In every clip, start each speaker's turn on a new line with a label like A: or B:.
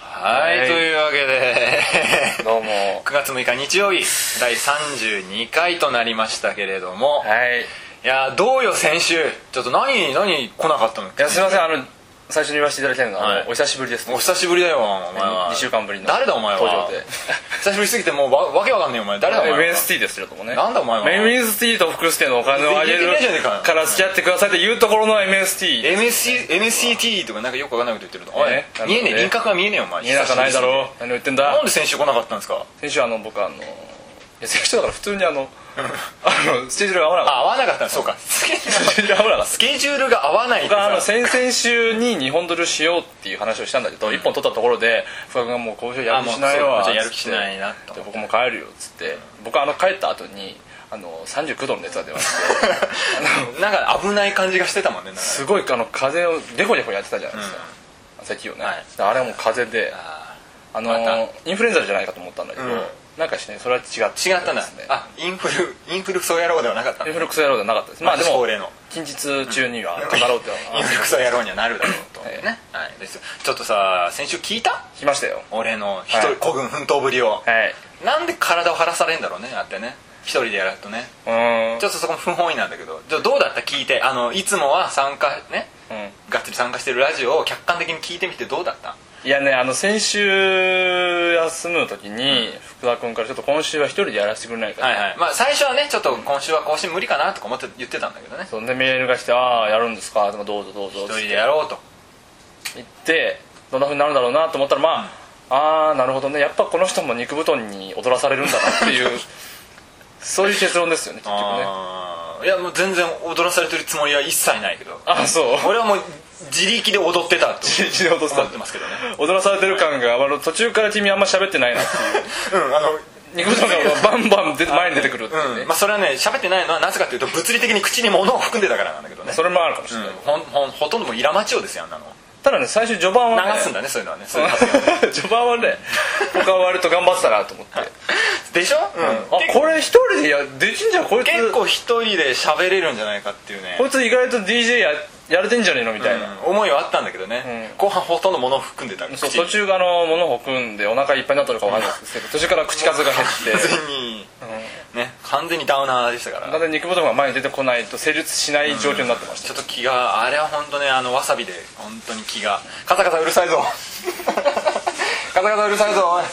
A: はい、
B: はい
A: というわけで
B: どうも
A: 9月6日日曜日第32回となりましたけれども、い、
B: はい
A: やーどうよ先週ちょっと何何来なかったの
B: いやすいませんあの最初に言わせていただきたいのが、
A: はい
B: あのお久しぶりです
A: お久しぶりだよお前は
B: 2週間ぶりの
A: 誰だお前は
B: 登場で
A: 久しぶりすぎてもうわわけわかんないよお前誰だお前は
B: メンスティーですよともね
A: なんだお前は
B: メンスティーと福ステのお金をあげ
A: 全然
B: る
A: 言えてねえじゃねえか
B: から付き合ってくださいって言うところの MST
A: MSC MCT とかなんかよくわかんないこと言ってるとおい
B: えー
A: 見えね
B: なるほど
A: え
B: ね
A: 輪郭が見えねえよお前
B: 見えなかない
A: 久
B: だ
A: しぶり
B: ろ何を言って
A: す
B: ん
A: ぎてな
B: だ
A: んで先週来なかったんですか
B: 先週あの僕あのいや先週だから普通にあのあのスケジュールが合わなかっ
A: あ合わなかったのそうかスケジュ
B: た
A: ー
B: スケジュールが合わ
A: ルスケジュールが合わ
B: なかった
A: ないって
B: 僕はあの
A: さ
B: 先々週に2本撮りをしようっていう話をしたんだけど1本撮ったところで深君がもう交渉や
A: あ
B: る
A: もう
B: 気しない
A: そう
B: わ
A: じゃあ
B: つ
A: や
B: っ
A: る
B: て
A: 気しないなと
B: で僕も帰るよっつって僕はあの帰った後にあの39度の熱が出まし て
A: なんか危ない感じがしてたもんねなんか
B: すごいあの風邪をデコデコやってたじゃないですか、咳をね、
A: はい
B: あれはもう風邪で
A: あ
B: あの、
A: また
B: インフルエンザじゃないかと思ったんだけど、
A: うん
B: なんかしねそれは違って違っ
A: ー違ったんだ
B: ね
A: あインフルインフルクソ野郎ではなかった
B: イン
A: の
B: フルクソ野郎じゃなかったですまあで
A: 私
B: も
A: 恒例の
B: 近日中にはかかろうっての
A: イン
B: は
A: フルクソ野郎にはなるだろうと
B: ええ
A: ねはいですちょっとさ先週聞いた
B: 来ましたよ
A: 俺の一
B: は
A: 人
B: い
A: 孤軍奮闘ぶりを
B: はい
A: なんで体を張らされんだろうねあってね一人でやるとね
B: うーん
A: ちょっとそこも不本意なんだけどじゃあどうだった聞いてあのいつもは参加ね
B: うん
A: がっつり参加してるラジオを客観的に聞いてみてどうだった
B: いやねあの先週休む時に福田君からちょっと今週は一人でやらせてくれないか
A: はい
B: ら
A: はいまあ最初はねちょっと今週は更新無理かなとか思って言ってたんだけどね
B: そんでメールが来て「ああやるんですか」でもどうぞどうぞ」
A: 一
B: って
A: 人でやろうと
B: 言ってどんなふうになるんだろうなと思ったらまあ、ああなるほどねやっぱこの人も肉布団に踊らされるんだなって いうそういう結論ですよね結局ね
A: あーいやもう全然踊らされてるつもりは一切ないけど
B: ああそう
A: 俺はもう自力で踊ってたと
B: 一日で踊
A: 思ってますけどね
B: 踊らされてる感があの途中から君あんま喋ってないなって
A: うんあの
B: いう肉布団がバンバン出て前に出てくるっていうね、
A: うんまあ、それはね喋ってないのはなぜかというと物理的に口に物を含んでたからなんだけどね
B: それもあるかもし
A: う
B: れ
A: ん
B: ない、
A: ほんほんほとんどもうイラマチオですよあんなの
B: ただね最初序盤は、ね、
A: 流すんだねそういうのはねそういう発言
B: 序盤はね他は割と頑張ってたなと思って、
A: でしょ、うん
B: あこれ一人でやできんじゃんこいつ
A: 結構一人で喋れるんじゃないかっていうね
B: こいつ意外と DJ ややれてんじゃねえのみたいな、
A: うん思いはあったんだけどね、後半ほとんど物を含んでた口
B: そう途中があの物を含んでお腹いっぱいになったのかわかんないですけど途中から口数が
A: 完
B: 減 って
A: 全に、ね完全にダウナーでしたから
B: 完全に肉ボトムが前に出てこないと成立しない状況になってまし
A: ち
B: た、
A: ょっと気があれは本当ねあのわさびで本当に気がカサカサうるさいぞ カサカサうるさいぞおい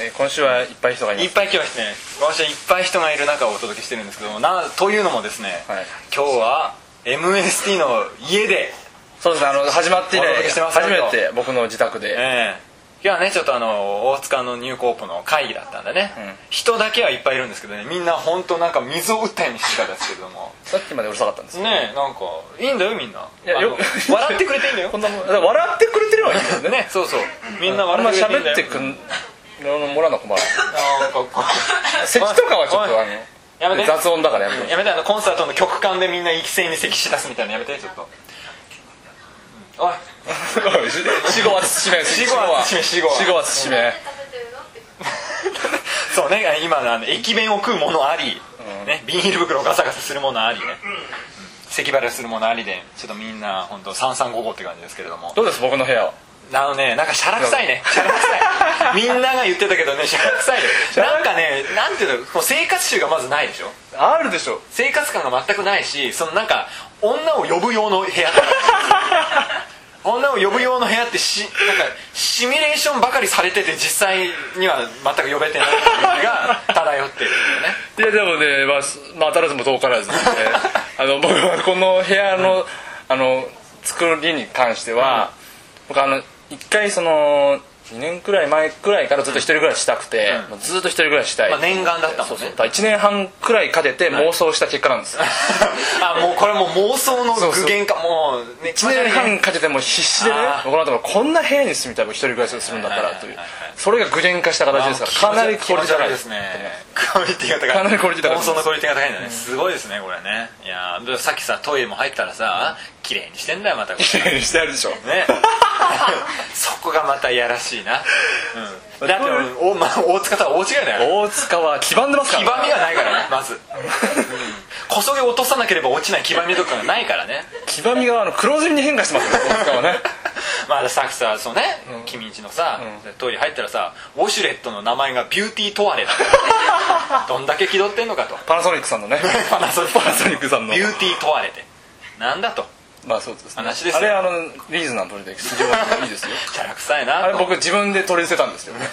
B: えー今週はいっぱい人がいま
A: いっ
B: す
A: ぱい今日はね今週はいっぱい人がいる中をお届けしてるんですけどもなというのもですね、
B: はい
A: 今日は MST の家で
B: そうですねあの始まって以
A: お届
B: 来
A: けしてます
B: 初めて僕の自宅で、
A: ええ今日はねちょっとあの大塚のニューコープの会議だったんでね、
B: ん
A: 人だけはいっぱいいるんですけどねみんな本当なんか水を打ったようにしてたんですけども
B: さっきまでうるさかったんですけど
A: ねえなんかいいんだよみんない
B: や
A: あ
B: よ
A: の笑ってくれていいんだよ
B: こ んなもんだから笑ってくれてるわけですよね
A: ねそうそうみんな
B: あんま
A: 笑ってくれていいん
B: 喋
A: だ
B: っ
A: よ
B: て くんもらうの困る
A: なんかこう
B: 咳とかはちょっと
A: おい
B: あ
A: やめ
B: の
A: て
B: 雑音だからやめて
A: やめてあのコンサートの曲間でみんな一斉に咳し出すみたいなのやめてちょっとおい
B: 死後は慎め
A: 死後は慎め死
B: 死
A: 後
B: 後
A: は
B: は死後は慎 め
A: そうね今のあの駅弁を食うものあり、ね、ビニール袋をガサガサするものありね、咳払いするものありでちょっとみんな本当三三五五って感じですけれども
B: どうです僕の部屋は
A: あのねなんかシャラ臭い ねシャラ臭いみんなが言ってたけどねシャラ臭いねなんかねなんていうのこう生活習がまずないでしょ
B: あるでしょ
A: 生活感が全くないしそのなんか女を呼ぶ用の部屋 女を呼ぶ用の部屋ってしなんかシミュレーションばかりされてて実際には全く呼べてない感じ が漂ってるんだよね
B: いやでもねまあすまあ当たらずも遠か らずであの僕はこの部屋のあの作りに関しては僕あの一回その2年くらい前くらいからずっと一人暮らししたくて
A: うん
B: もうずっと一人暮らししたい
A: まあ念願だったもんね
B: そうそうだから1年半くらいかけて妄想した結果なんですよ
A: あもうこれもう妄想の具現化もうね
B: 1年半かけてもう必死でね
A: あー
B: 僕の頭こんな部屋に住みたい僕一人暮らしをするんだからという
A: はいはいはい
B: それが具現化した形ですからかなりクオリティ高い
A: ですねクオリティが高い
B: かなりクオリティ高い
A: 放送のクオリティが高いんだね、すごいですねこれねいやーでさっきさトイレも入ったらさ綺麗にしてんだよまたこれ
B: 綺麗にしてある でしょ
A: ね そこがまたいやらしいな、うん、だって
B: う
A: お、まあ、大塚とは大違いだよ
B: 大塚は黄ばんでますか
A: 黄
B: ら
A: ばみがないからねまず、うん、こそげ落とさなければ落ちない黄ばみとかがないからね
B: 黄ばみがあの黒ずみに変化してますよ大塚はね
A: まあさっきさそのね、
B: うん
A: 君んちのさ、
B: う
A: トイレ入ったらさウォシュレットの名前がビューティートワレ だどんだけ気取ってんのかと
B: パナソニックさんのね
A: パナソニック
B: パナソニックさんの
A: ビューティー問われてなんだと
B: まあそうですね
A: 話ですよ
B: あれあのリーズナブルで非常にいいですよ
A: チャラ臭い
B: あ
A: な
B: れ
A: と
B: 僕自分で取り寄せたんです よね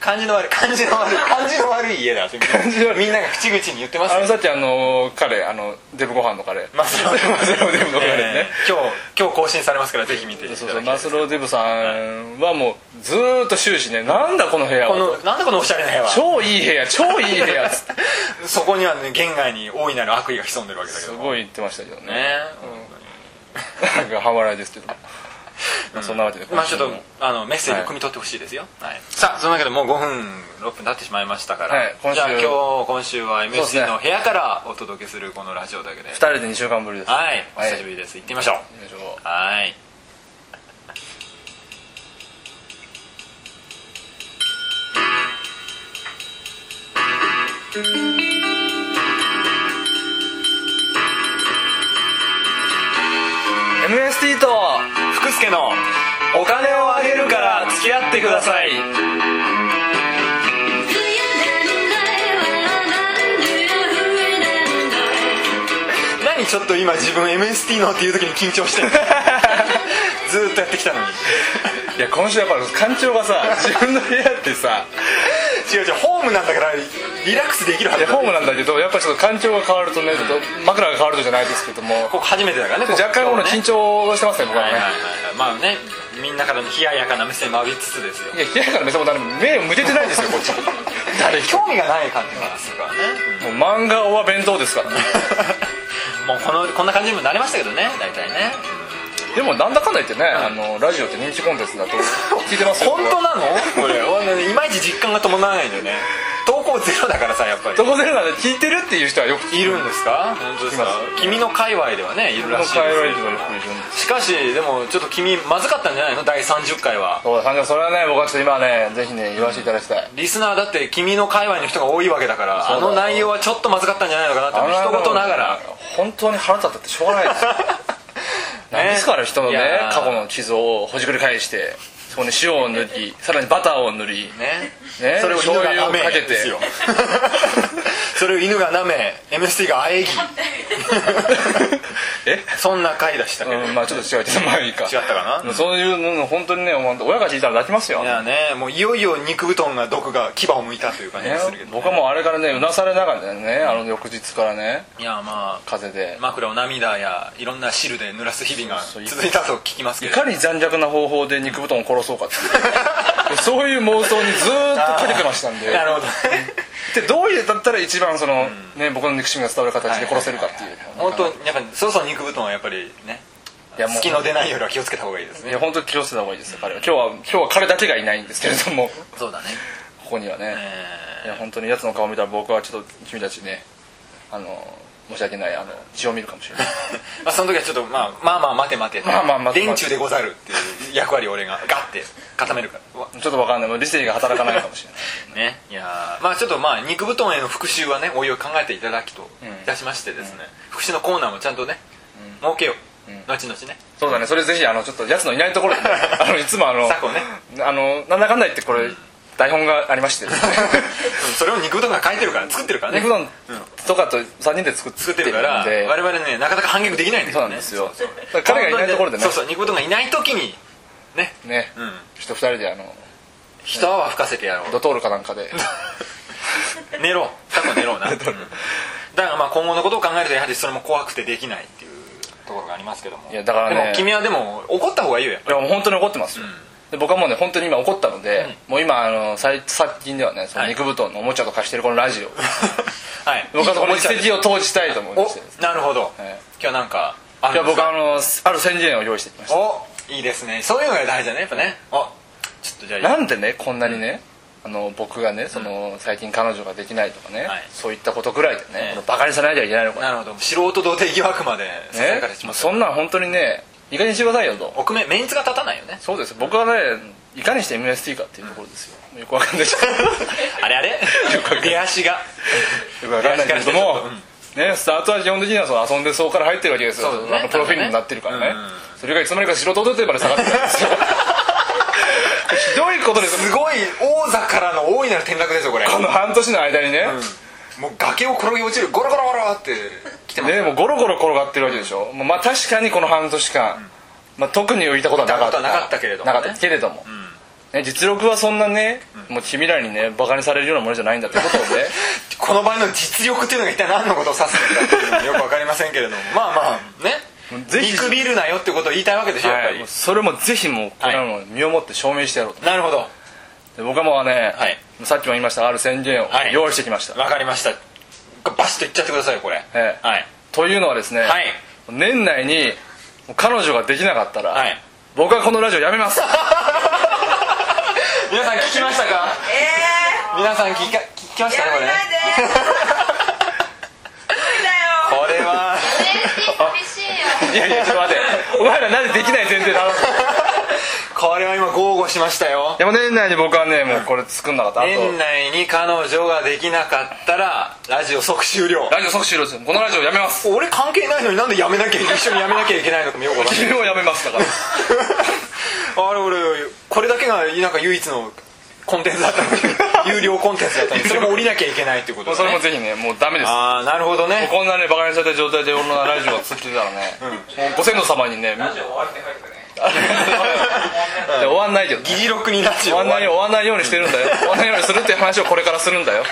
A: 感じの悪い感じの悪い感じの悪い家だって
B: 感じの悪い
A: みんなが口々に言ってます
B: あ
A: よ
B: のさっきあの彼あのデブご飯のカレー
A: マスロー
B: マスローデブのカレー
A: え
B: ね、
A: ー今日今日更新されますからぜひ見ていただき
B: そ
A: た
B: う
A: い
B: そうマスローデブさんはもうずーっと終始ねなんだこの部屋
A: こ
B: は
A: のなんだこのおしゃれな部屋は
B: 超いい部屋超いい部屋っつって
A: そこにはね言外に大いなる悪意が潜んでるわけだけ
B: す
A: どね
B: ごい言ってましたけどね
A: うん
B: なんか半笑いですけど、まあそんなわけで
A: まあちょっと
B: 今週も
A: あのメッセージを汲み取ってほしいですよ、はいさあそのわけでもう5分6分経ってしまいましたから、
B: はい今週
A: じゃあ今日今週は
B: そうですね
A: MC の部屋からお届けするこのラジオだけで
B: 二人で2週間ぶりです
A: はいお
B: はい
A: 久しぶりです行ってみましょう
B: よいしょ
A: はい
B: 「MST と
A: 福助の
B: お金をあげるから付き合ってください」
A: 何ちょっと今自分 MST のっていう時に緊張して るずーっとやってきたのに
B: いや今週やっぱ館長がさ自分の部屋ってさ
A: 違う違うホームなんだからリラックスできるはいず
B: や
A: だ
B: ホームなんだけどやっぱちょっと館長が変わるとねちょっと枕が変わるとじゃないですけども
A: ここ初めてだからねここ
B: 若干この
A: ね
B: 緊張してますね僕は
A: はい
B: ね
A: はいはいはいまあねみんなからの冷ややかな目線も浴びつつですよ
B: いや冷ややから目線も誰も目を向けてないですよこっち誰
A: 興味がない感じがするからね、
B: もう漫画は弁当ですからね
A: もうこのこんな感じにもなりましたけどね大体ね
B: でもなんだかんだ言ってねあのラジオって認知コンテンツだと聞いてますよ
A: 本当なのこれ俺ねいまいち実感が伴わないんだよね投稿ゼロだからさやっぱり
B: どこでなんで聞いてるっていう人はよく聞
A: いるんですか本当ですか
B: いま
A: 君の界隈ではねいる
B: この
A: らしいです
B: 会話
A: け
B: よ
A: ど
B: りもよくいるんです
A: しかしでもちょっと君まずかったんじゃないの第30回は
B: そうだそれはね僕はちょっと今ねぜひね言わせていただきたい
A: リスナーだって君の界隈の人が多いわけだから
B: そう
A: あ
B: だよ
A: の内容はちょっとまずかったんじゃないのかなって一言ながら
B: 本当に腹立ったってしょうがな いですよ何ですから人の
A: い
B: ね
A: やー
B: 過去の傷をほじくり返してそこに塩を塗りさらにバターを塗り
A: ね
B: ね
A: それを犬が舐
B: 醤油をかけ
A: め
B: て
A: ですよ それを犬が舐め MST があ えぎ
B: え
A: そんな回でしたけど、
B: うんまあちょっと違 うけどまあいいか違
A: ったかな
B: そういうの本当にね本当親が聞いたら泣きますよ
A: いやねもういよいよ肉布団が毒が牙を剥いたという感じ
B: ね
A: がするけど、ね
B: 僕はもうあれからねうなされながらねあの翌日からね
A: いやまあ
B: 風邪で
A: 枕を涙やいろんな汁で濡らす日々が
B: そうそう
A: 続いたと聞きますけ
B: い
A: ど
B: かに残虐な方法で肉布団を殺そうかっていうそういう妄想にずーっとかけてましたん で
A: なるほどね
B: でどういうだったら一番その、ね、僕の憎しみが伝わる形で殺せるかっていう
A: 本当やっぱりそろそろ肉布団はやっぱりね
B: いやもう
A: 隙の出ないよりは気をつけた方がいいです
B: い
A: ね
B: や本当に気をつけた方がいいですよ彼は今日は今日は彼だけがいないんですけれども
A: そうだね、
B: ここにはね、
A: え
B: いや本当に奴の顔見たら僕はちょっと君たちねあの申し訳ないあの血を見るかもしれない
A: ー まあ、その時はちょっと、まあ、まあまあ待て待て
B: まあまあ待て
A: 電
B: 待
A: 柱
B: て
A: でござるっていう役割を俺がガッて固めるからうわ
B: ちょっとわかんないもう理性が働かないかもしれない
A: ねいやーまあちょっとまあ肉布団への復習はねおいおい考えていただきといたしましてですね、復習のコーナーもちゃんとね、儲けよう、後々ね
B: そうだねそれぜひあのちょっと奴のいないところ で、ね、あのいつもあの
A: 策をね
B: あのなんだかんだ言ってこれ台本がありまし てですね
A: うんそれを肉布団が書いてるから作ってるからね
B: 肉丼とかと3人で作って
A: 作ってるから
B: んで
A: 我々ねなかなか反撃できないんです
B: そうな
A: よ
B: ん
A: ね
B: ですよだから彼がいないところでね
A: そうそう肉布団がいない時にね
B: ね、
A: うん
B: ちょっと2人であの
A: 一泡吹かせてやろ
B: ドトールかなんかで
A: う寝ろうタコ寝ろう な、うんだからまあ今後のことを考えるとやはりそれも怖くてできないっていうところがありますけども
B: いやだからね
A: でも君はでも怒った方がいいよ やっぱ
B: いやもう本当に怒ってますよ、で僕はもうね本当に今怒ったので、もう今あの最最近ではねその
A: はい
B: 肉布団のおもちゃと貸してるこのラ ジオ、
A: りはい
B: 僕はそこに
A: いい
B: 奇
A: と
B: 跡を投じたいと思い
A: 思
B: ま
A: いま
B: し
A: してたおなるほど、
B: い
A: 今日なんかあ
B: い
A: る
B: や
A: んです
B: 僕
A: か
B: はあのある宣言を用意してきまし
A: おいいですねそういうのが大事だねやっぱねおちょっとじゃあ
B: たなんでねこんなにね、あの僕がねその最近彼女ができないとかね、
A: はい
B: そういったことぐらいで
A: ええ
B: ね、バカにされなきゃいけないのか
A: なるほど素人童貞疑惑までささ
B: ね
A: やかれてしまった
B: そんなん本当にねいかにしてくださいよと
A: 奥目メンツが立たないよ ね
B: そうです僕はねいかにして MST かっていうところですよ、よく わかんないです
A: あれあれ
B: よくわかんない
A: 出足が
B: よくわかんないけれども、ね、スタートは基本的にはその遊んでそうから入ってるわけですよ、
A: そうだね
B: あのプロフィールになってるからね
A: うん
B: それがいつの間にか素人出てまで下がってたんで すよひどいことです
A: すごい王座からの大いなる転落ですよこれ、
B: この半年の間にね、
A: もう崖を転げ落ちるゴロゴロゴロって来てます
B: ねもうゴロゴロ転がってるわけでしょ、もうまあ確かにこの半年間、まあ、特に浮いたことはなかった
A: 浮いたことはなかったけれどもね
B: なかったけれどもね実力はそんなね、もう君らにねバカにされるようなものじゃないんだってことをね
A: この場合の実力というのが一体何のことを指すのかっていうのもよく分かりませんけれどもまあまあね
B: ぜひ
A: 見くびるなよってことを言いたいわけでしょやっぱ
B: はい
A: り、
B: もうそれもぜひもうこれはもう身をもって証明してやろうと、
A: なるほど
B: で僕はもうね、
A: はい
B: さっきも言いましたある宣言を
A: はい
B: 用意してきました、
A: わかりましたバシッと言っちゃってくださいよこれ、
B: ええ
A: はい
B: というのはですね、
A: はい
B: 年内に彼女ができなかったら、
A: はい
B: 僕はこのラジオやめます
A: 皆さん聞きましたか
C: え
A: 皆さん聞か聞きま
C: ー、
A: したね
C: や
A: こ
C: め
A: れ
C: ないで無理だよ
A: これは
D: 嬉しいよ
B: いやいやちょっと待ってお前らなんでできない前提だろ
A: これは今豪語しましたよ
B: でも年内に僕はねもうこれ作んなかったあと
A: 年内に彼女ができなかったらラジオ即終了
B: ラジオ即終了ですこのラジオやめます
A: 俺関係ないのになんでやめなきゃ一緒にやめなきゃいけないのかもよくわかんない
B: 君をやめますだから
A: あれ俺これだけがなんか唯一のコンテンツだった のに有料コンテンツだったのにそれも降りなきゃいけないってこと
B: もう
A: です
B: それも
A: ね
B: ぜひねもうダメです
A: ああなるほどね
B: こんなねバカにされた状態で俺のラジオが作ってたらね、もうご先祖様にねで終わんないけど
A: 議事録にラジ
B: 終
A: オ
B: わんないよ終わんないようにしてるんだよ終わんないようにするっていう話をこれからするんだよ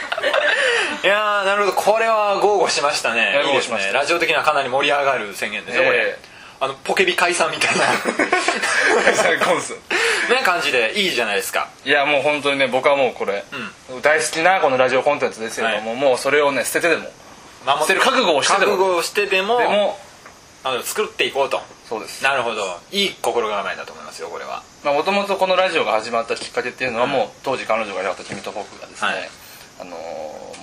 A: いやーなるほどこれは豪語しましたね
B: や
A: いい
B: 豪
A: で
B: 語
A: す
B: しました
A: ねラジオ的にはかなり盛り上がる宣言ですよこれ
B: え
A: あのポケビ解散みた いな
B: 解散コンス
A: ね感じでいいじゃないですか
B: いやもう本当にね僕はもうこれ、大好きなこのラジオコンテンツですけれども、もうそれをね捨ててでも
A: 守
B: 捨てる覚悟をしてで
A: 覚
B: も
A: 悟をしてでも
B: でも
A: あの作っていこうと
B: そうです
A: なるほどいい心構えだと思いますよこれは
B: もともとこのラジオが始まったきっかけっていうのはもう当時彼女がいなかった君と僕がですね、
A: はい
B: あのー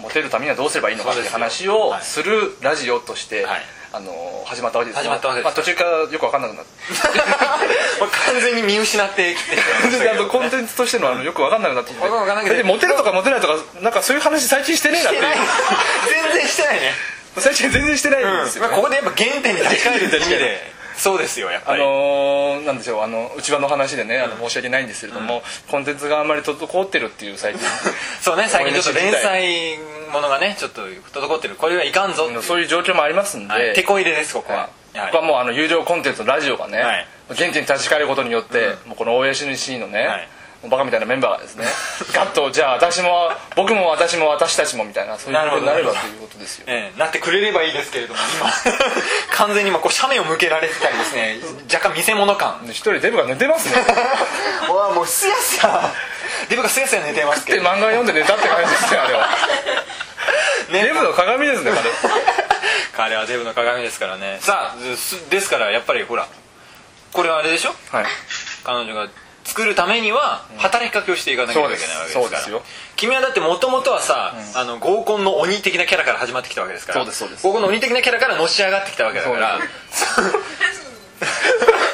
B: モテるためにはどうすればいいのかっていう
A: そうです
B: 話
A: よ
B: を
A: はい
B: するラジオとして、
A: はい
B: あのー始まったわけです
A: 始
B: よ
A: まったわけです
B: まあ、途中からよく分かんなくなって
A: もう完全に見失ってきてしまいましたけ
B: あ
A: ど
B: のコンテンツとしてのあのよく分かんなくなってきて
A: わかんなくなってきて
B: でモテるとかモテないとかなんかそういう話最近してねえなっていう
A: 全然してないね、
B: 最近全然してないんですよ、
A: まあ、ここでやっぱ原点に立ち返るって意味でそうですよやっ
B: あ
A: ぱり、
B: のーなんでしょうあの内輪の話でねあの申し訳ないんですけれども、コンテンツがあんまり滞ってるっていう最近
A: そうね最近ちょっと連載ものがねちょっと滞ってるこれはいかんぞっていう
B: そういう状況もありますんで、
A: はい手こ入れですここ
B: は
A: は、
B: い、
A: やはり
B: ここはもうあの有料コンテンツのラジオがね、
A: はい
B: 原点に立ち返ることによって、もうこの OSNC のね、
A: はい
B: バカみたいなメンバーがで すねガッとじゃあ私も僕も私も私たちもみたいなそういうことにな
A: な
B: れ
A: る
B: ば
A: ほど
B: ということですよ
A: ええなってくれればいいですけれども今 完全に今こう斜面を向けられてたりですね若干見せ物感
B: で一人デブが寝てます ね
A: うわもうすやすやデブがすやすや寝てますけ
B: で
A: ど
B: 漫画読んで寝たって感じですよあれ は
A: ね
B: デブの鏡ですねあれ
A: 彼はデブの鏡ですからねさあすですからやっぱりほらこれはあれでしょ
B: はい
A: 彼女が作るためには働きかけをしていかなきゃいけないわけですか
B: そう
A: ら
B: ですそうですよ
A: 君はだってもともとはさ、あの合コンの鬼的なキャラから始まってきたわけですから
B: そうですそうです
A: 合コンの鬼的なキャラからのし上がってきたわけだから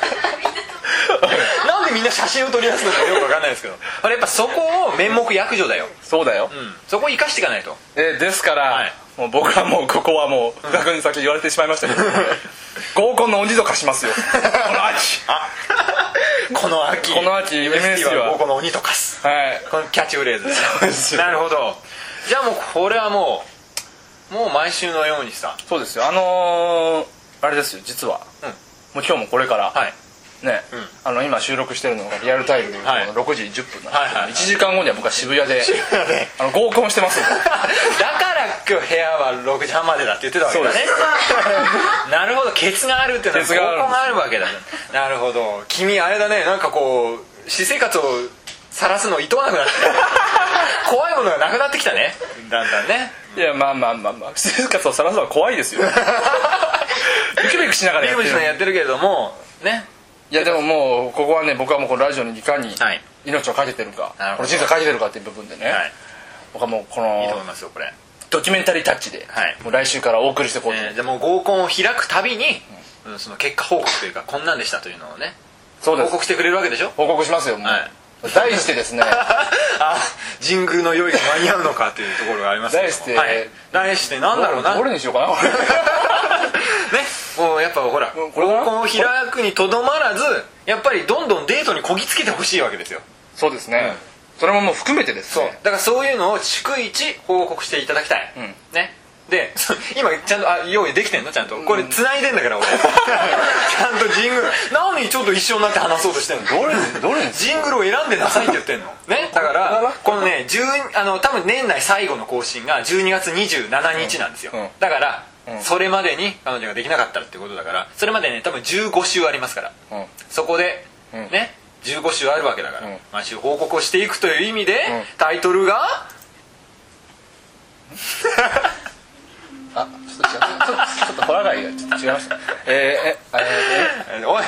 A: なんでみんな写真を撮り出すのかよくわかんないですけどあれやっぱそこを面目役所だよ、
B: そうだよ、
A: うん、そこを生かしていかないと
B: えーですから、
A: はい
B: もう僕はもうここはもう学に先言われてしまいましたけ ど、合コンの鬼と化し ますよこの秋
A: あこの秋
B: この秋
A: MST
B: MST
A: は合
B: は
A: コンの鬼とかす
B: はい
A: このキャッチフレーズ
B: うですよ
A: なるほどじゃあもうこれはもうもう毎週のようにさ
B: そうですよあのーあれですよ実は、
A: うん
B: もう今日もこれから、
A: はい
B: ね、
A: ん
B: あの今収録してるのがリアルタイムでこの
A: はい
B: 6時10分なんですけど、
A: はい はいはい
B: 1時間後には僕は渋谷であの合コンして ますよ
A: だから今日部屋は6時半までだって言ってたわけだねなるほどケツがあるってのは
B: ケツがあるんです
A: ここがあるわけだなるほど君あれだねなんかこう私生活を晒すのいとわなくなってき た怖いものがなくなってきたねだんだんね
B: いやまあまあまあまあ私生活をさらすのは怖いですよ ビクビクしながら
A: ビ
B: や
A: ク
B: っ
A: ビク
B: てる
A: しながらやってるけれどもね
B: いやでももうここはね僕はもうこのラジオにいかに
A: はい
B: 命をかけてるか、
A: なるほ
B: この
A: ど
B: 人生をかけてるかっていう部分でね、
A: はい
B: 僕はもうこ
A: いいと思
B: の
A: いますよこれ
B: ドキュメンタリータッチで、
A: はい
B: もう来週からお送りしていこうと、
A: えーじゃあもう合コンを開くたびに、うんその結果報告というかこんなんでしたというのをね
B: そうで
A: 報
B: す
A: 告してくれるわけでしょ
B: 報告しますよもう、
A: はい
B: 題してです ね
A: あ神宮の用意が間に合うのかというところがありますけども
B: 題して
A: はい、題してなんだろうな
B: どれにしようかなこれ
A: ねもうやっぱほら
B: うんこれかな
A: こう開くにとどまらずやっぱりどんどんデートにこぎつけてほしいわけですよ
B: そうですね、それももう含めてです
A: そう
B: ね
A: だからそういうのを逐一報告していただきたい、
B: うん
A: ねで そ今ちゃんとあ用意できてんのちゃんとこれ繋いでんだから 俺ちゃんとジングル何ちょっと一緒になって話そうとしてんの
B: どれ どれ
A: ジングルを選んでなさいって言ってんのねだからこのね10あの多分年内最後の更新が12月27日なんですよ、
B: うんうん
A: だから、
B: うん
A: それまでに彼女ができなかったらってことだからそれまでね多分15週ありますから、
B: うん
A: そこで、
B: うん
A: ね15週あるわけだから、
B: うん
A: 毎週報告をしていくという意味で、
B: ん
A: タイトルが
B: あちょっと違うちょっとちょっとホラ貝がちょっと違いましたえー、ええ
A: えーおい
B: ー、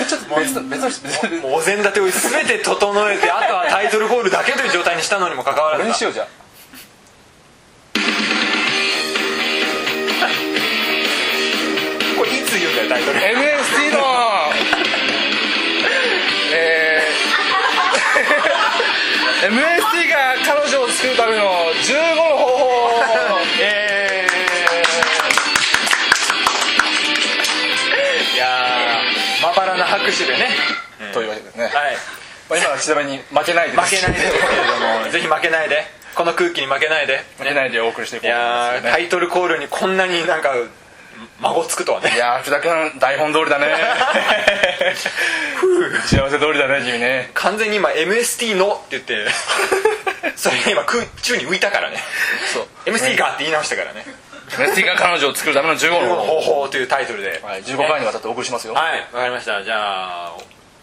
B: えー、ちょっと別の別の人別の人
A: もうお膳立てを全て整えてあとはタイトルコールだけという状態にしたのにもかかわら
B: こ
A: ず
B: れにしようじゃあ
A: これいつ言うんだよタイトル
B: MST のえー MST が彼女を作るための15の方法え
A: いやーまばらな拍手でね
B: ーというわけですね、
A: はい
B: まあ、今はちなみに負けない
A: 負け
B: で
A: ないでですけれどもぜひ負けないでこの空気に負けないで
B: 負けないでお送りしていこ
A: いう
B: と思います
A: や
B: よ
A: ー
B: ね
A: タイトルコールにこんなになんか孫つくとはね
B: いやー福田君台本通りだね幸せ通りだね君ね
A: 完全に今 MST のって言って それが今空中に浮いたからね
B: そう
A: MST がって言い直したからね
B: MST が彼女を作るための
A: 「
B: 15の
A: の
B: 方法
A: 方法」というタイトルで
B: はい、15回にわたってお送りしますよ
A: はいわかりましたじゃあ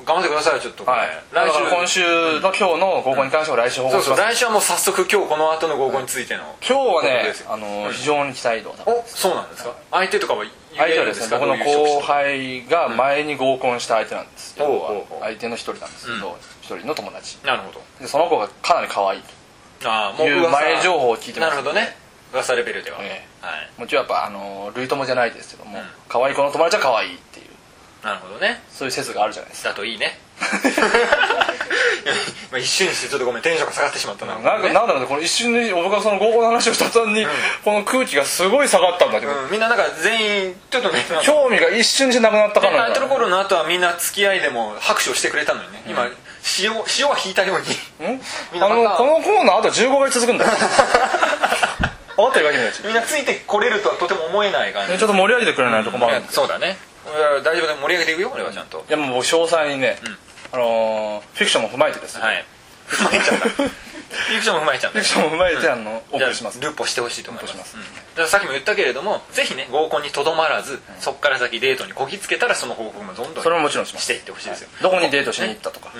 A: 頑張ってくださいちょっとこれ
B: はい、来週今週の今日の合コンに関しては来週報
A: そうそ
B: 告しま
A: う
B: す
A: 来週はもう早速今日この後の合コンについての
B: 今日は
A: 報告
B: ね
A: ですよ
B: あの非常に期待度が高い
A: おそうなんですか相手とかは言
B: 相
A: え
B: 手は
A: るん
B: で
A: ですす
B: ね
A: か
B: 僕の
A: どういう
B: 後
A: 人
B: 輩が前に合コンした相手なんですけ
A: うんおうおう
B: ど
A: おう
B: 相手の一人なんですけど一人の友達
A: なるほど
B: でその子がかなり可愛い
A: ああ
B: と
A: もう
B: いう
A: 噂
B: 前情報を聞いてま
A: な
B: す
A: るほどね噂レベルでは、
B: え
A: はい
B: もちろんやっぱあの類友じゃないですけども可愛い子の友達は可愛いっていう
A: なるほどね
B: そういう説があるじゃないですか
A: だとい いねまあ一瞬にしてちょっとごめんテンションが下がってしまったな,、
B: なんかなんだろうねこの一瞬で僕がその合コンの話をした途端にこの空気がすごい下がったんだけど
A: うん、みんななんか全員ちょっとねなんか
B: 興味が一瞬じゃなくなったかのよう
A: タイ
B: な
A: トルコールの後はみんな付き合いでも拍手をしてくれたのにね、今塩塩は引いたように
B: ん
A: みんな
B: あ
A: ま
B: の
A: た
B: このコーナーあと15回続くん だよ思ってるわけないし
A: みんなついてこれるとはとても思えない感じ、
B: ねちょっと盛り上げてくれないと困るん
A: いや
B: で
A: そうだねいや大丈夫だよ盛り上げていくよ俺はちゃんと、
B: いやもう僕詳細にね、あのーフィクションも踏まえてですね、
A: はい踏まえちゃった フィクションも踏まえちゃった
B: フィクションも踏まえて、あのお
A: じゃ
B: 送
A: あ
B: りします
A: ルポしてほしいと思います
B: ルポします
A: うんだからさっきも言ったけれどもぜひね合コンにとどまらず、そこから先デートにこぎつけたらその報告もどんどん
B: それももちろんします
A: していってほしいですよ、
B: どこにデートしに行ったとか、ね、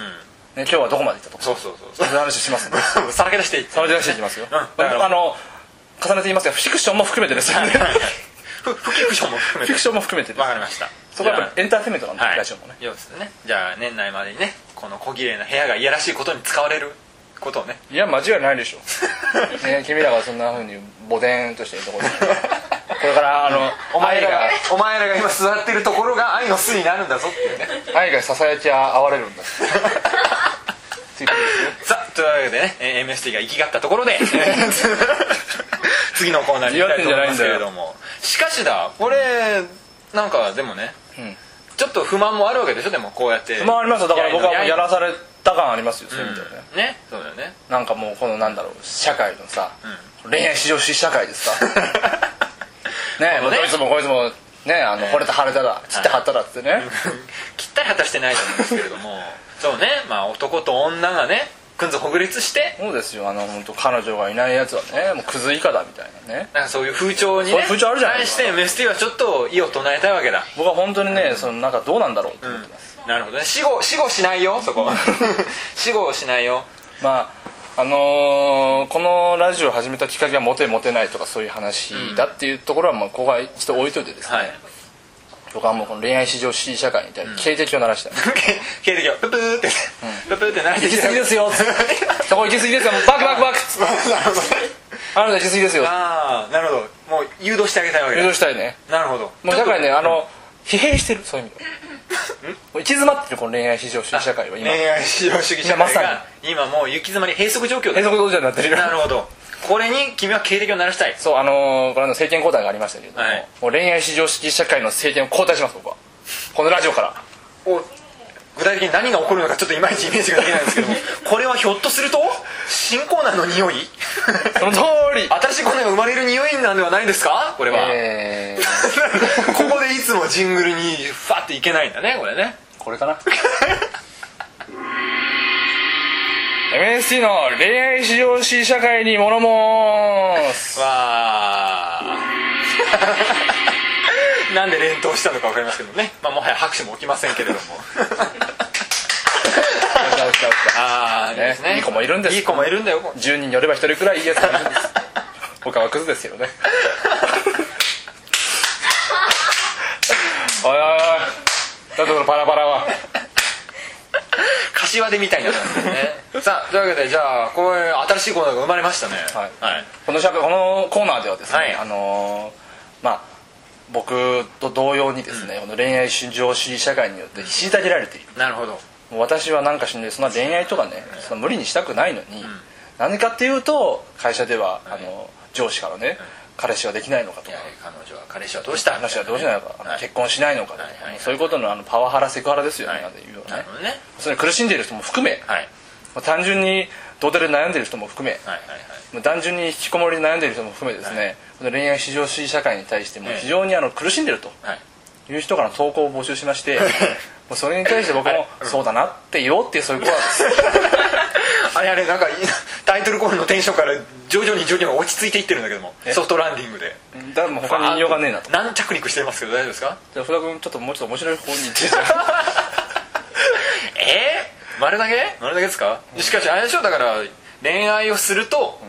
A: うん
B: 今日はどこまで行ったとか
A: そうそうそう
B: そういう話しますん で
A: さらけ出していって
B: それで出していきますよ、
A: うんだから
B: あの重ねて言いますがフィクションも含めてですよね フ
A: ふフィクションも含め
B: ィ
A: て
B: クションも含めてです
A: わかりました
B: そこはやっぱりエンターテインメントなんで、
A: はい
B: ラジオもね
A: ようですねじゃあ年内までにねこの小綺麗な部屋がいやらしいことに使われることを ね
B: いや間違いないでしょ、ね、君らがそんなふうにボデーンとしてるところで これからあの
A: お前ら
B: 愛が
A: がお前らが今座ってるところが愛の巣になるんだぞっていうね
B: 愛がささやきあわれるんだっていうことですよ
A: さあというわけでねえー MST が行きがったところで えー次のコーナーに行きたいと思いますけれどもしかしだこれなんかでもね、
B: うん
A: ちょっと不満もあるわけでしょでもこうやって
B: まあありますよだから僕はもうやらされた感ありますよそう
A: う
B: いうん意味ではね
A: ねそうだよね
B: なんかもうこのなんだろう社会のさ、恋愛至上主義社会で さねえもう
A: ね
B: どいつもこいつもねあの惚れた腫れただ切って貼っただっつってね
A: きったり果たしてないと思うんですけれどもそうねまあ男と女がねくんずほぐれつして
B: そうですよあの本当彼女がいないやつはねもうクズ以下だみたいなね
A: なんかそういう風潮に
B: そう
A: ね
B: いう風潮あるじゃないで
A: 対
B: す
A: し
B: か
A: て MST はちょっと異を唱えたいわけだ
B: 僕は本当にねそのなんかどうなんだろうって思ってます、
A: なるほどね死後死後しないよそこ 死後しないよ
B: まああのーこのラジオを始めたきっかけはモテモテないとかそういう話だっていうところはもうここはちょっと置いといてですね、
A: はい
B: 僕はもうこの恋愛至上主義社会に対して警笛を鳴らしたい、
A: 経歴をププーって、ププーって泣いて
B: 行き過ぎ ですよそこ行き過ぎですよもうバクバクバク
A: なるほど
B: あなた行き過ぎですよ
A: ああなるほどもう誘導してあげたいわけ
B: 誘
A: だ
B: 導したいね
A: なるほど
B: もう社会ねあの疲弊してるそういう意味ではもう行き詰まってるこの恋愛至上主義社会は今
A: 恋愛至上主義社
B: 今ま
A: 会
B: さ
A: が今もう行き詰まり閉塞状況だ
B: 閉塞状態になってるよ
A: なるほどこれに君は警笛を鳴らしたい
B: そうあのーこの間政権交代がありましたけれども,、
A: はい
B: もう恋愛至上主義社会の政権を交代します僕はこのラジオ から
A: お具体的に何が起こるのかちょっといまいちイメージができないんですけ どもこれはひょっとすると新コーナーの匂い
B: その通り
A: 新しいコーナーが生まれる匂いなんではないですかこれは、
B: えー
A: ここでいつもジングルにファっていけないんだねこれね
B: これか な MST の恋愛至上主義社会に物申す
A: わあ なんで連投したのか分かりますけどね、まあ、もはや拍手も起きませんけれどもああいいですね
B: いい子もいるんです
A: いい子もいるんだよ
B: 10人によれば1人くらいいいやつがいるんです他はクズですけどね おいおいおいだってこのパラパラは
A: 柏でみ たいになったんですねさあというわけでじゃあこれ新しいコーナーが生まれましたね
B: はい
A: はい
B: このしゃこのコーナーではですね、
A: はい
B: あのーまあ僕と同様にですね、この恋愛至上主義社会によって虐げられている
A: なるほど
B: もう私はなんかしんでそんな恋愛とかねそんな無理にしたくないのに、何かっていうと会社では、あの上司からね、彼氏はできないのかと
A: い
B: か
A: や彼女は彼氏はどうした
B: 話はどうしないのか、あの
A: はい
B: 結婚しないのかとか、
A: はいはいはい
B: そういうことのあのパワハラセクハラですよね、
A: はい
B: なんていうような
A: な
B: ね
A: るほどね
B: それに苦しんでいる人も含め、
A: はい
B: まあ単純にどうでで悩んでいる人も含め、
A: はいはい
B: まあ単純に引きこもりに悩んでいる人も含めですね、この恋愛至上主義社会に対しても
A: ええ
B: 非常にあの苦しんでいると
A: はいはい
B: いう人からの投稿を募集しましてもうそれに対して僕も「そうだな」って言おうっていうそういうコーナーです
A: あれあれなんかいタイトルコールのテンションから徐々に徐々に落ち着いていってるんだけどもソフトランディングで
B: だからもう他に言いようがねえなと
A: 軟着陸してますけど大丈夫ですか
B: じゃあ福田君ちょっともうちょっと面白い方に行って
A: えー、丸投げ丸投げですか、しかしあれでしょだから恋愛をすると、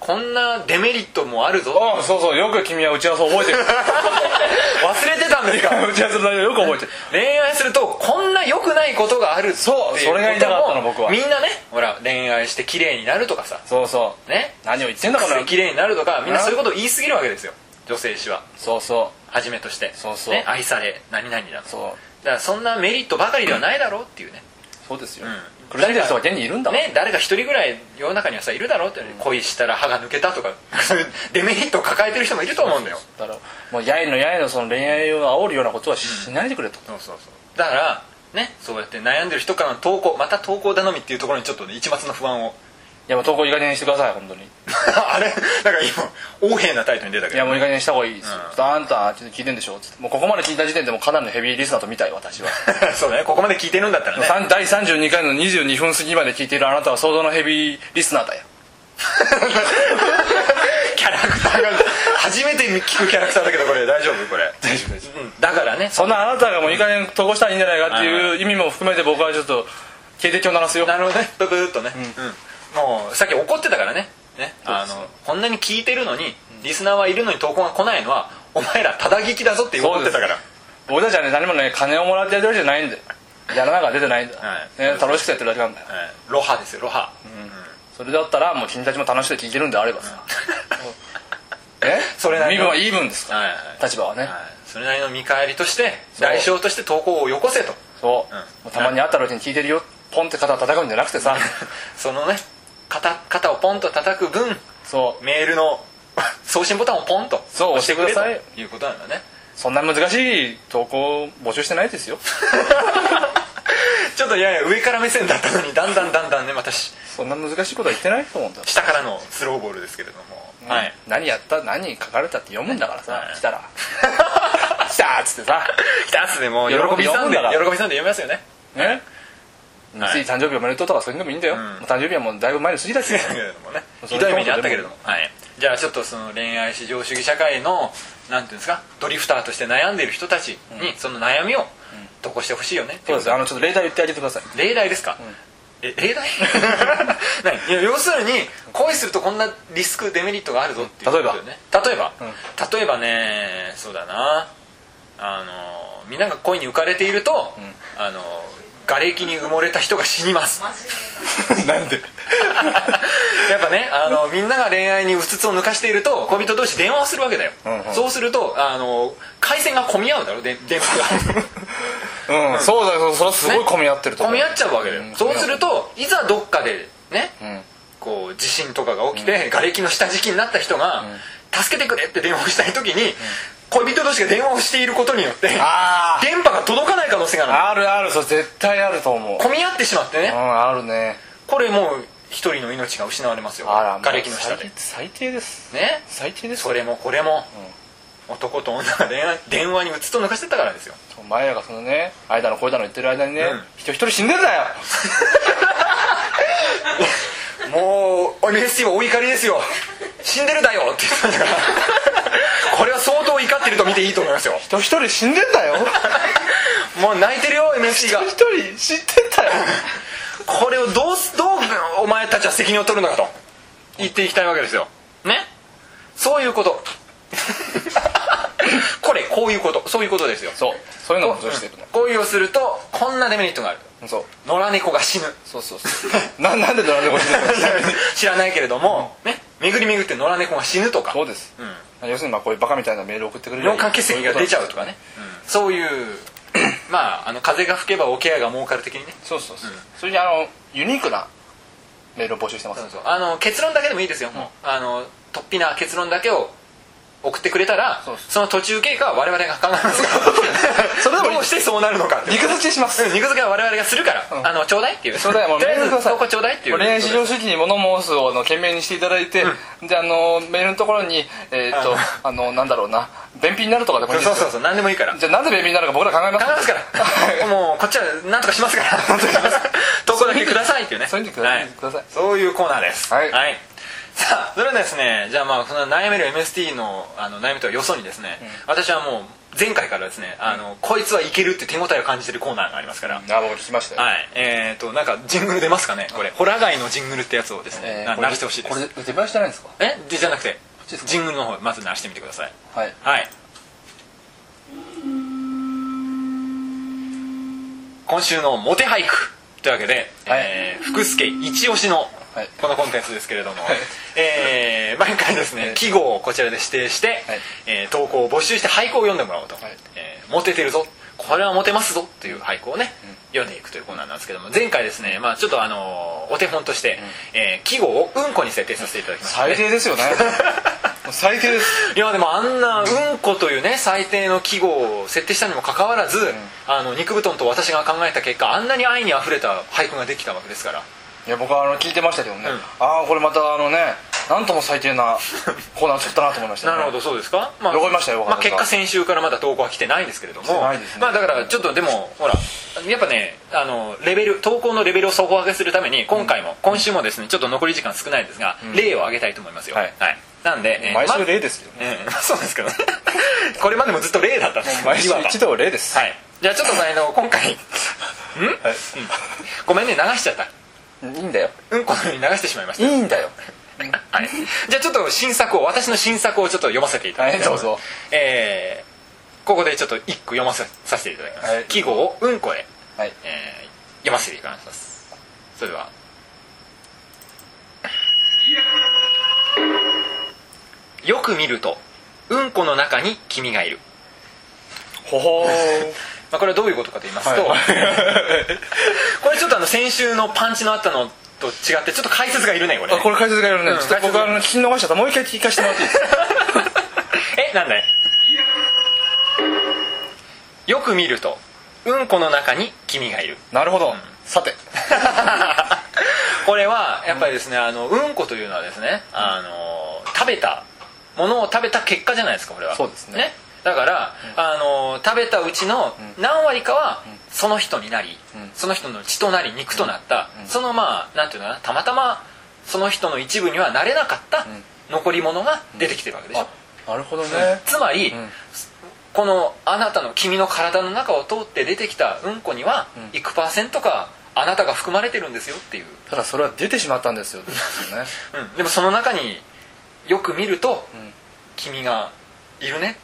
A: こんなデメリットもあるぞ
B: ああそうそうよく君は打ち合わせ覚えてる
A: 忘れてたんですか
B: 打ち合わせの内容よく覚えてる
A: 恋愛するとこんな良くないことがある
B: そう
A: ってい
B: それが言いたかっ
A: こ
B: たの
A: とも
B: 僕は
A: みんなねほら恋愛して綺麗になるとかさ
B: そうそう
A: ね
B: 何を言ってんだこの
A: 綺麗になるとかみんなそういうことを言い過ぎるわけですよ女性誌は
B: そうそ
A: はじめとして
B: そうそう
A: ね、愛され何々だ
B: う
A: と
B: そう
A: だからそんなメリットばかりではないだろうっていうね
B: そうですよ、
A: ん
B: 苦しんでる人が現にいるんだもん
A: ね誰か一人ぐらい世の中にはさいるだろうって、恋したら歯が抜けたとか そういうデメリットを抱えてる人もいると思うんだよ
B: だからもうやいのやいのその恋愛を煽るようなことはし,、ないでくれと
A: そうそうそうだからねそうやって悩んでる人からの投稿また投稿頼みっていうところにちょっとね一抹の不安を
B: いやもう投稿いい加減にしてください本当にい
A: あれなんか今横柄なタイトルに出たけど
B: やもういい加減にした方がいいです、ちょっとあんたちょっと聞いてんでしょっつってもうここまで聞いた時点でもうかなりのヘビーリスナーと見たい私 は
A: そうねここまで聞いてるんだったらね
B: さん第32回の22分過ぎまで聞いているあなたは相当のヘビーリスナーだよ
A: キャラクターが初めて聞くキャラクターだけどこれ大丈夫これ大丈夫です、うんだからね
B: そんなあなたがもういい加減投稿したらいいんじゃないかっていう意味も含めて僕はちょっと警笛を鳴らすよ
A: なるほどねブブーっとね、うんもうさっき怒ってたからねねあ
B: そう
A: のこんなに聞いてるのにリスナーはいるのに投稿が来ないのはお前らただ聞きだぞって怒ってたから
B: 僕たちはね何もね金をもらってやってるわけじゃないんだよやらなが出てないんだ、
A: はい
B: ね、楽しくてやってるだけなんだよ
A: はいロハですよロハ、
B: それだったらもう君たちも楽しくて聞いてるんであればさ、え
A: それなり
B: 身
A: の
B: 分は言い分ですか
A: はいはい
B: 立場はね、
A: はいそれなりの見返りとして
B: そう
A: 代償として投稿をよこせと
B: そう、
A: うん
B: もうたまに会った時に聞いてるよポンって肩叩くんじゃなくてさ
A: そのね肩肩をポンと叩く分
B: そう
A: メールの 送信ボタンをポンと
B: そう
A: 押してくれ
B: 押してください
A: ということなんだね
B: そんな難しい投稿募集してないですよ
A: ちょっとやや上から目線だったのにだんだんだんだんねまたし
B: そんな難しいことは言ってないと思うんだ、
A: 下からのスローボールですけれども、はい
B: 何やった何書かれたって読むんだからさ、
A: はい
B: 来たら 来たっつってさ
A: 来たっすねもう喜びさんで
B: 喜び読むんだから
A: 喜びさんで読みますよね
B: ね
A: はい
B: つい誕生日おめでとうとかそういうのもいいんだよ、
A: うん
B: もう誕生日はもうだいぶ前に過ぎたし
A: けれども ね
B: そ
A: ひ
B: れ
A: どい目にあったけれどもはいじゃあちょっとその恋愛至上主義社会のなんていうんですかドリフターとして悩んでいる人たちにその悩みを投稿してほしいよね、
B: そうですあのちょっと例題言ってあげてください
A: 例題ですか、え例 題何いや要するに恋するとこんなリスクデメリットがあるぞっていうことだよね例えば、例えばねそうだなあのみんなが恋に浮かれていると、あの瓦礫に埋もれた人が死にます
B: なんで
A: やっぱねあのみんなが恋愛にうつつを抜かしていると恋人同士電話をするわけだよ、
B: んうん
A: そうするとあの回線が混み合うだろで電 話が
B: うん、そうだよそれはすごい混み合ってると思
A: 混
B: う、
A: み合っちゃうわけだよ、
B: ん
A: そうするといざどっかでね、
B: うん
A: ここう地震とかが起きて、瓦礫の下敷きになった人が、助けてくれって電話をしたい時に、恋人同士が電話をしていることによって電
B: あー
A: 波が届かない可能性があるの
B: あるあるそれ絶対あると思う
A: 混み合ってしまって
B: う
A: ね
B: んあるね
A: これもう一人の命が失われますよ
B: あらもう
A: 瓦礫の下で
B: 最最低です
A: ね
B: 最低です
A: それもこれも、男と女が電話電話にうつと抜かしてたからですよ
B: お前らがそのね間のこうだの言ってる間にね、
A: うん
B: 人一人死んでんだよ
A: もう MSC はお怒りですよ死んでるだよって言ってましたからこれは相当怒ってると見ていいと思いますよ
B: 人一人死んでんだよ
A: もう泣いてるよ MSC が
B: 人一人死んでんだ よ
A: これをどうすどうお前たちは責任を取るのかと言っていきたいわけですよねそういうこと これこういうことそういうことですよ
B: そうそういうのも女子してるの
A: 恋をするとこんなデメリットがある
B: そう
A: 野良猫が死ぬ
B: そうそう そうななんで野良猫死ぬのか知らない
A: 知らないけれども、ね巡り巡って野良猫が死ぬとか
B: そうです、
A: ん
B: 要するにまあこういうバカみたいなメール送ってくれる
A: 尿管結石が出ちゃうとかねそういう まああの風が吹けばおケアが儲かる的にね
B: そうそうそう、それにあのユニークなメールを募集してます
A: あの結論だけでもいいですよ、もうあの突飛な結論だけを送ってくれたら
B: そう
A: そ
B: そう
A: の途中経過は我々が考えますから
B: それでも
A: どうしてそうなるのかって
B: 肉立ちします
A: うん肉付けは我々がするから、
B: ん
A: あのちょうだいっていう
B: ちょうだいもう
A: とりあえ
B: メール
A: ず
B: ください
A: 投稿ちょうだいっていう
B: 恋愛至上主義に物申すをあの懸命にしていただいて、であのメールのところにえーっとあのなんだろうな便秘になるとかでもいいんで
A: そ
B: す
A: うそ
B: よ
A: うそう何でもいい から
B: じゃあなんで便秘になるか僕ら考えます
A: 考えますからもうこっちは何とかします から 投稿だけくださいっていうね
B: そういうのくださ
A: はい
B: ください
A: そういうコーナーです
B: はい
A: さあそれではですねじゃあまあその悩める MST のあの悩みとはよそにですね、私はもう前回からですねあの、こいつはいけるって手応えを感じてるコーナーがありますから、
B: あ僕聞きましたよ、
A: はいえー、となんかジングル出ますかねこれホラガイのジングルってやつをですね、
B: えー
A: な
B: これ
A: 鳴らしてほしいで
B: これ
A: す
B: 出囃子じゃないんですか
A: えでじゃなくて
B: ちですか
A: ジングルの方まず鳴らしてみてください
B: はい
A: はい今週のモテ俳句というわけで、
B: はい
A: えー福助一押しの
B: はい
A: このコンテンツですけれども、えー毎回ですね記号をこちらで指定して、
B: はい
A: えー投稿を募集して俳句を読んでもらおうと、
B: はい
A: えーモテてるぞこれはモテますぞという俳句をね、読んでいくというコーナーなんですけども前回ですね、まあ、ちょっとあのーお手本として、えー記号をうんこに設定させていただきました、ね
B: 最、低です よねもう最低です
A: いやでもあんな「うんこ」というね最低の記号を設定したにもかかわらず、あの肉布団と私が考えた結果あんなに愛にあふれた俳句ができたわけですから
B: いや僕はあの聞いてましたけどね、
A: うん
B: ああこれまたあのねなんとも最低なコーナー作ったなと思いました、ね、
A: どそうですか、ま
B: わかりましたよわかり
A: あ、結
B: ました
A: 果先週からまだ投稿は来てないんですけれど
B: 来て
A: も
B: ないですね
A: まあ、だからちょっとでもほらやっぱねあのレベル投稿のレベルを底上げするために今回も、今週もですねちょっと残り時間少ないですが、例を挙げたいと思いますよ
B: はい
A: なんで、えー
B: 毎
A: ま
B: 週例ですよね、
A: えー そうですけどねこれまでもずっと例だったんです
B: 毎週
A: いわば
B: 一度例です、
A: はいじゃあちょっとあ の今回ん、
B: はい
A: ごめんね流しちゃった
B: いいんだよ
A: うんこのように流してしまいまし
B: い
A: た
B: いんだよ
A: はいじゃあちょっと新作を私の新作をちょっと読ませていただきます
B: はいどうぞ
A: えーここでちょっと一句読ませさせていただきます、
B: はい
A: 季語をうんこへ、
B: はい
A: えー読ませていただきますそれではよく見るとうんこの中に君がいる、
B: ほほー
A: まあ、これはどういうことかと言いますと、 これちょっとあの先週のパンチのあったのと違ってちょっと解説がいるねこれ
B: あこれ解説がいるね、
A: うん
B: ちょっと僕あの聞き逃しちゃったもう一回聞かせてもらっていいですか
A: えなんだいよく見るとうんこの中に君がいる
B: なるほど、さて
A: これはやっぱりですねあのうんこというのはですねあの食べたものを食べた結果じゃないですかこれは
B: そうですね
A: だから、あの食べたうちの何割かはその人になり、
B: ん
A: その人の血となり肉となった、そのまあなんていうのかなたまたまその人の一部にはなれなかった残り物が出てきてるわけでしょ、
B: あなるほどね
A: つまり、
B: ん
A: このあなたの君の体の中を通って出てきたうんこには、幾パーセントかあなたが含まれてるんですよっていう、
B: ただそれは出てしまったんですよってことね
A: うんでもその中によく見ると、
B: ん
A: 君がいるね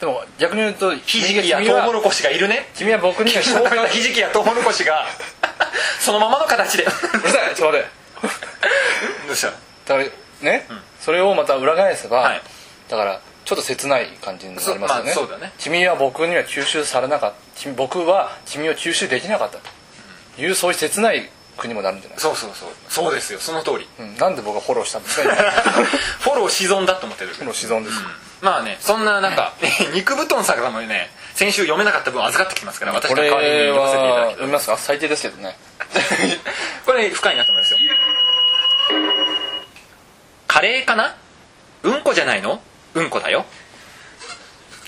B: でも逆に言うと
A: ひ
B: 君
A: じきや
B: 君
A: トウモ
B: は
A: ロコシがいるね
B: 君は僕には
A: 君の食べた ひじきやトウモロコシ がそのままの形で
B: うるさいちょっと待って
A: どうした
B: だからね、それをまた裏返せば、
A: はい
B: だからちょっと切ない感じになりますよね,、
A: そうまあそうだね
B: 君は僕には吸収されなかった君僕は君を吸収できなかったという、そういう切ない苦にもなるんじゃない、
A: そうそうそうそうですよその通 り
B: うん、なんで僕がフォローしたんですか今
A: フォローし損だと思ってる
B: フォローし損ですよ、
A: まあねそんななんか 肉布団さんからもね先週読めなかった分預かってきますから私
B: こ
A: の代
B: れ
A: わりに読ませていただ
B: は
A: き
B: 読みますか最低ですけどね
A: これ深い なと思いますよカレーかなうんこじゃないのうんこだよ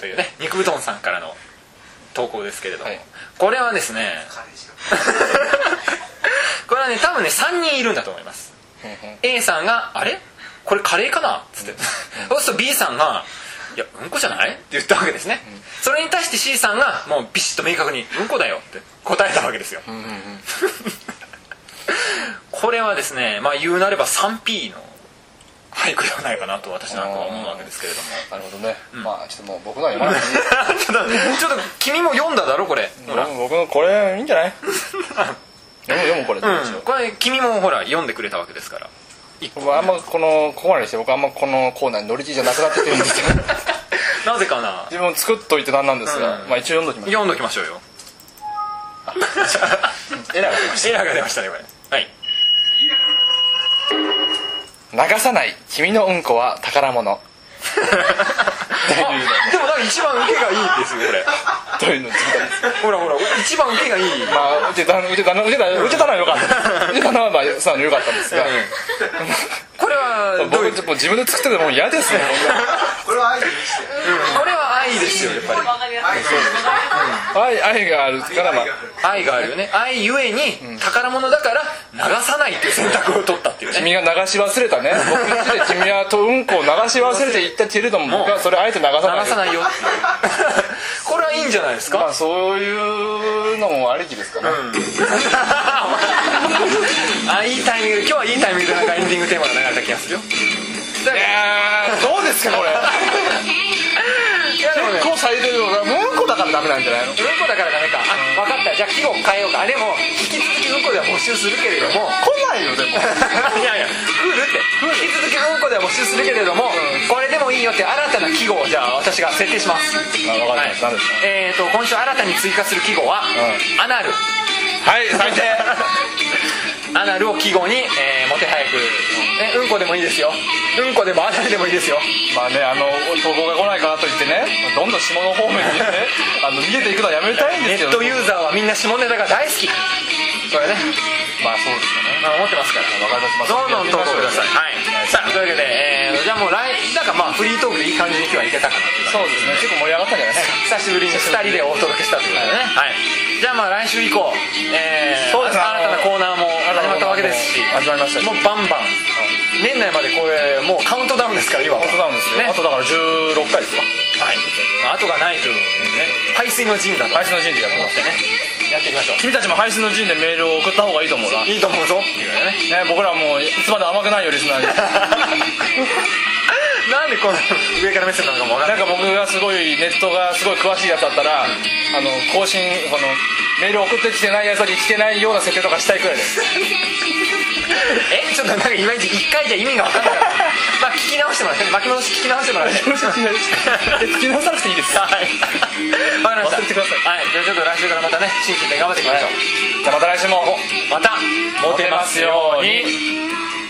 A: というね肉うどんさんからの投稿ですけれども、
B: はい
A: これはですねこれはね多分ね3人いるんだと思います
B: ふんふん
A: A さんが「あれこれカレーかな?」つって、 そうすると B さんが「いやうんこじゃない?」って言ったわけですね、それに対して C さんがもうビシッと明確に「うんこだよ」って答えたわけですよ、
B: うんうんうん
A: これはですねまあ言うなれば 3P の俳句ではないかなと私なんかは思うわけですけれども
B: なるほどね、まあちょっともう僕のは読まなくていい
A: ちょっと ちょっと君も読んだだろこれほら、
B: でも僕のこれいいんじ ゃない読む読むこれ、
A: うん、これ君もほら読んでくれたわけですから
B: 僕はあんまこのここまでして僕あんまこのコーナーに乗り気じゃなくなってきてるんですけど
A: なぜかな
B: 自分作っといてなんなんですが、
A: うん
B: まあ一応読んどきます
A: 読んどきましょうよ
B: エラーが出ま し
A: エラーが出ましたねこれはい
B: た流さない君のうんこは宝物
A: あでもなんか一番受けがいいですよこれ
B: というのを作ったんです
A: ほらほら一番受けがいい
B: まあ打てた打てた打てた打てたのは良か った打てたのはまあ素直に良かったんですが、
A: これはどう
B: 僕
A: いう
B: もう自分で作っててもう嫌です ね
E: これはアイドルにして
A: これは愛ですよやっぱり
E: アイドル
B: 愛愛があるからまあ
A: 愛があるよね愛ゆえに宝物だから流さないっていう選択を取ったっていうね
B: 君が流し忘れたね僕の字で君はとうんこを流し忘れていったけれども僕はそれあえて流さない
A: 流さないよって いうこれはいいんじゃないです
B: ま
A: か
B: あそういうのもありきですかね、
A: あいいタイミング今日はいいタイミングでなんかエンディングテーマが流れた気がするよ
B: いやーどうで すかこれ
A: いやでもね
B: こう最低で俺はもううんこだからダメなんじゃない
A: う
B: の
A: んこだからダメかあ分かったじゃあ季語変えようかあでも引き続きうんこでは募集するけれども
B: 来 ないよでも
A: いやいやクールって引き続きうんこでは募集するけれども、これでもいいよって新たな記号をじゃあ私が設定します
B: あ分かりました何ですか
A: えー、と今週新たに追加する記号は、
B: う
A: アナル
B: はい最低
A: アナルを記号に、えー、もてはやく、ね、うんこでもいいですようんこでもアナルでもいいですよ
B: まあねあの投稿が来ないからといってねどんどん下の方面にねあの逃げていくのはやめたいん
A: ネ
B: です
A: ッ
B: よ
A: トユーザーはみんな下ネタが大好きそれね、
B: まあそうですよね
A: まあ、思ってますから
B: 分かります
A: どんどん投稿ください、
B: い
A: はい、さあというわけで、えー、じゃあもう来なんかまあフリートークでいい感じに今日はいけたかなっていう感じ
B: そうですね結構盛り上がったんじゃないですか
A: 久しぶりに2人でお届けしたということでね、はい、じゃあまあ来週以降、えー、
B: そうですね
A: 新たなコーナーも始まったわけですし
B: 始まりましたし
A: もうバンバン年内までこれもうカウントダウンですから今は
B: カウントダウンですよ、
A: ね
B: あとだから16回ですか
A: はい、まあ後がないというね排水の陣だと思
B: 配
A: っ
B: 信の陣でやってます
A: てねやっていきましょう
B: 君たちも配信の陣でメールを送った方がいいと思うな、ね、
A: いいと思うぞっていうね
B: 僕らはもういつまで甘くないよリスナーに
A: なんでこの上から目線なのかもわかんな
B: ないんか僕がすごいネットがすごい詳しいやつだったらあの更新このメール送ってきてないやつに来てないような設定とかしたいくらいです
A: えちょっとなんかいまいち1回じゃ意味がわかんないから まあ聞き直してもらって巻き戻し聞き直してもら っ て
B: 聞き直さなくていいです
A: はい。わかりました。
B: 忘れてください
A: はい。じゃあちょっと来週からまたね、新規で頑張っていきましょう。
B: じゃあまた来週も
A: また、モ
B: モ
A: テ
B: テ
A: ま
B: ますす
A: よ
B: よ
A: う
B: う
A: に
B: に。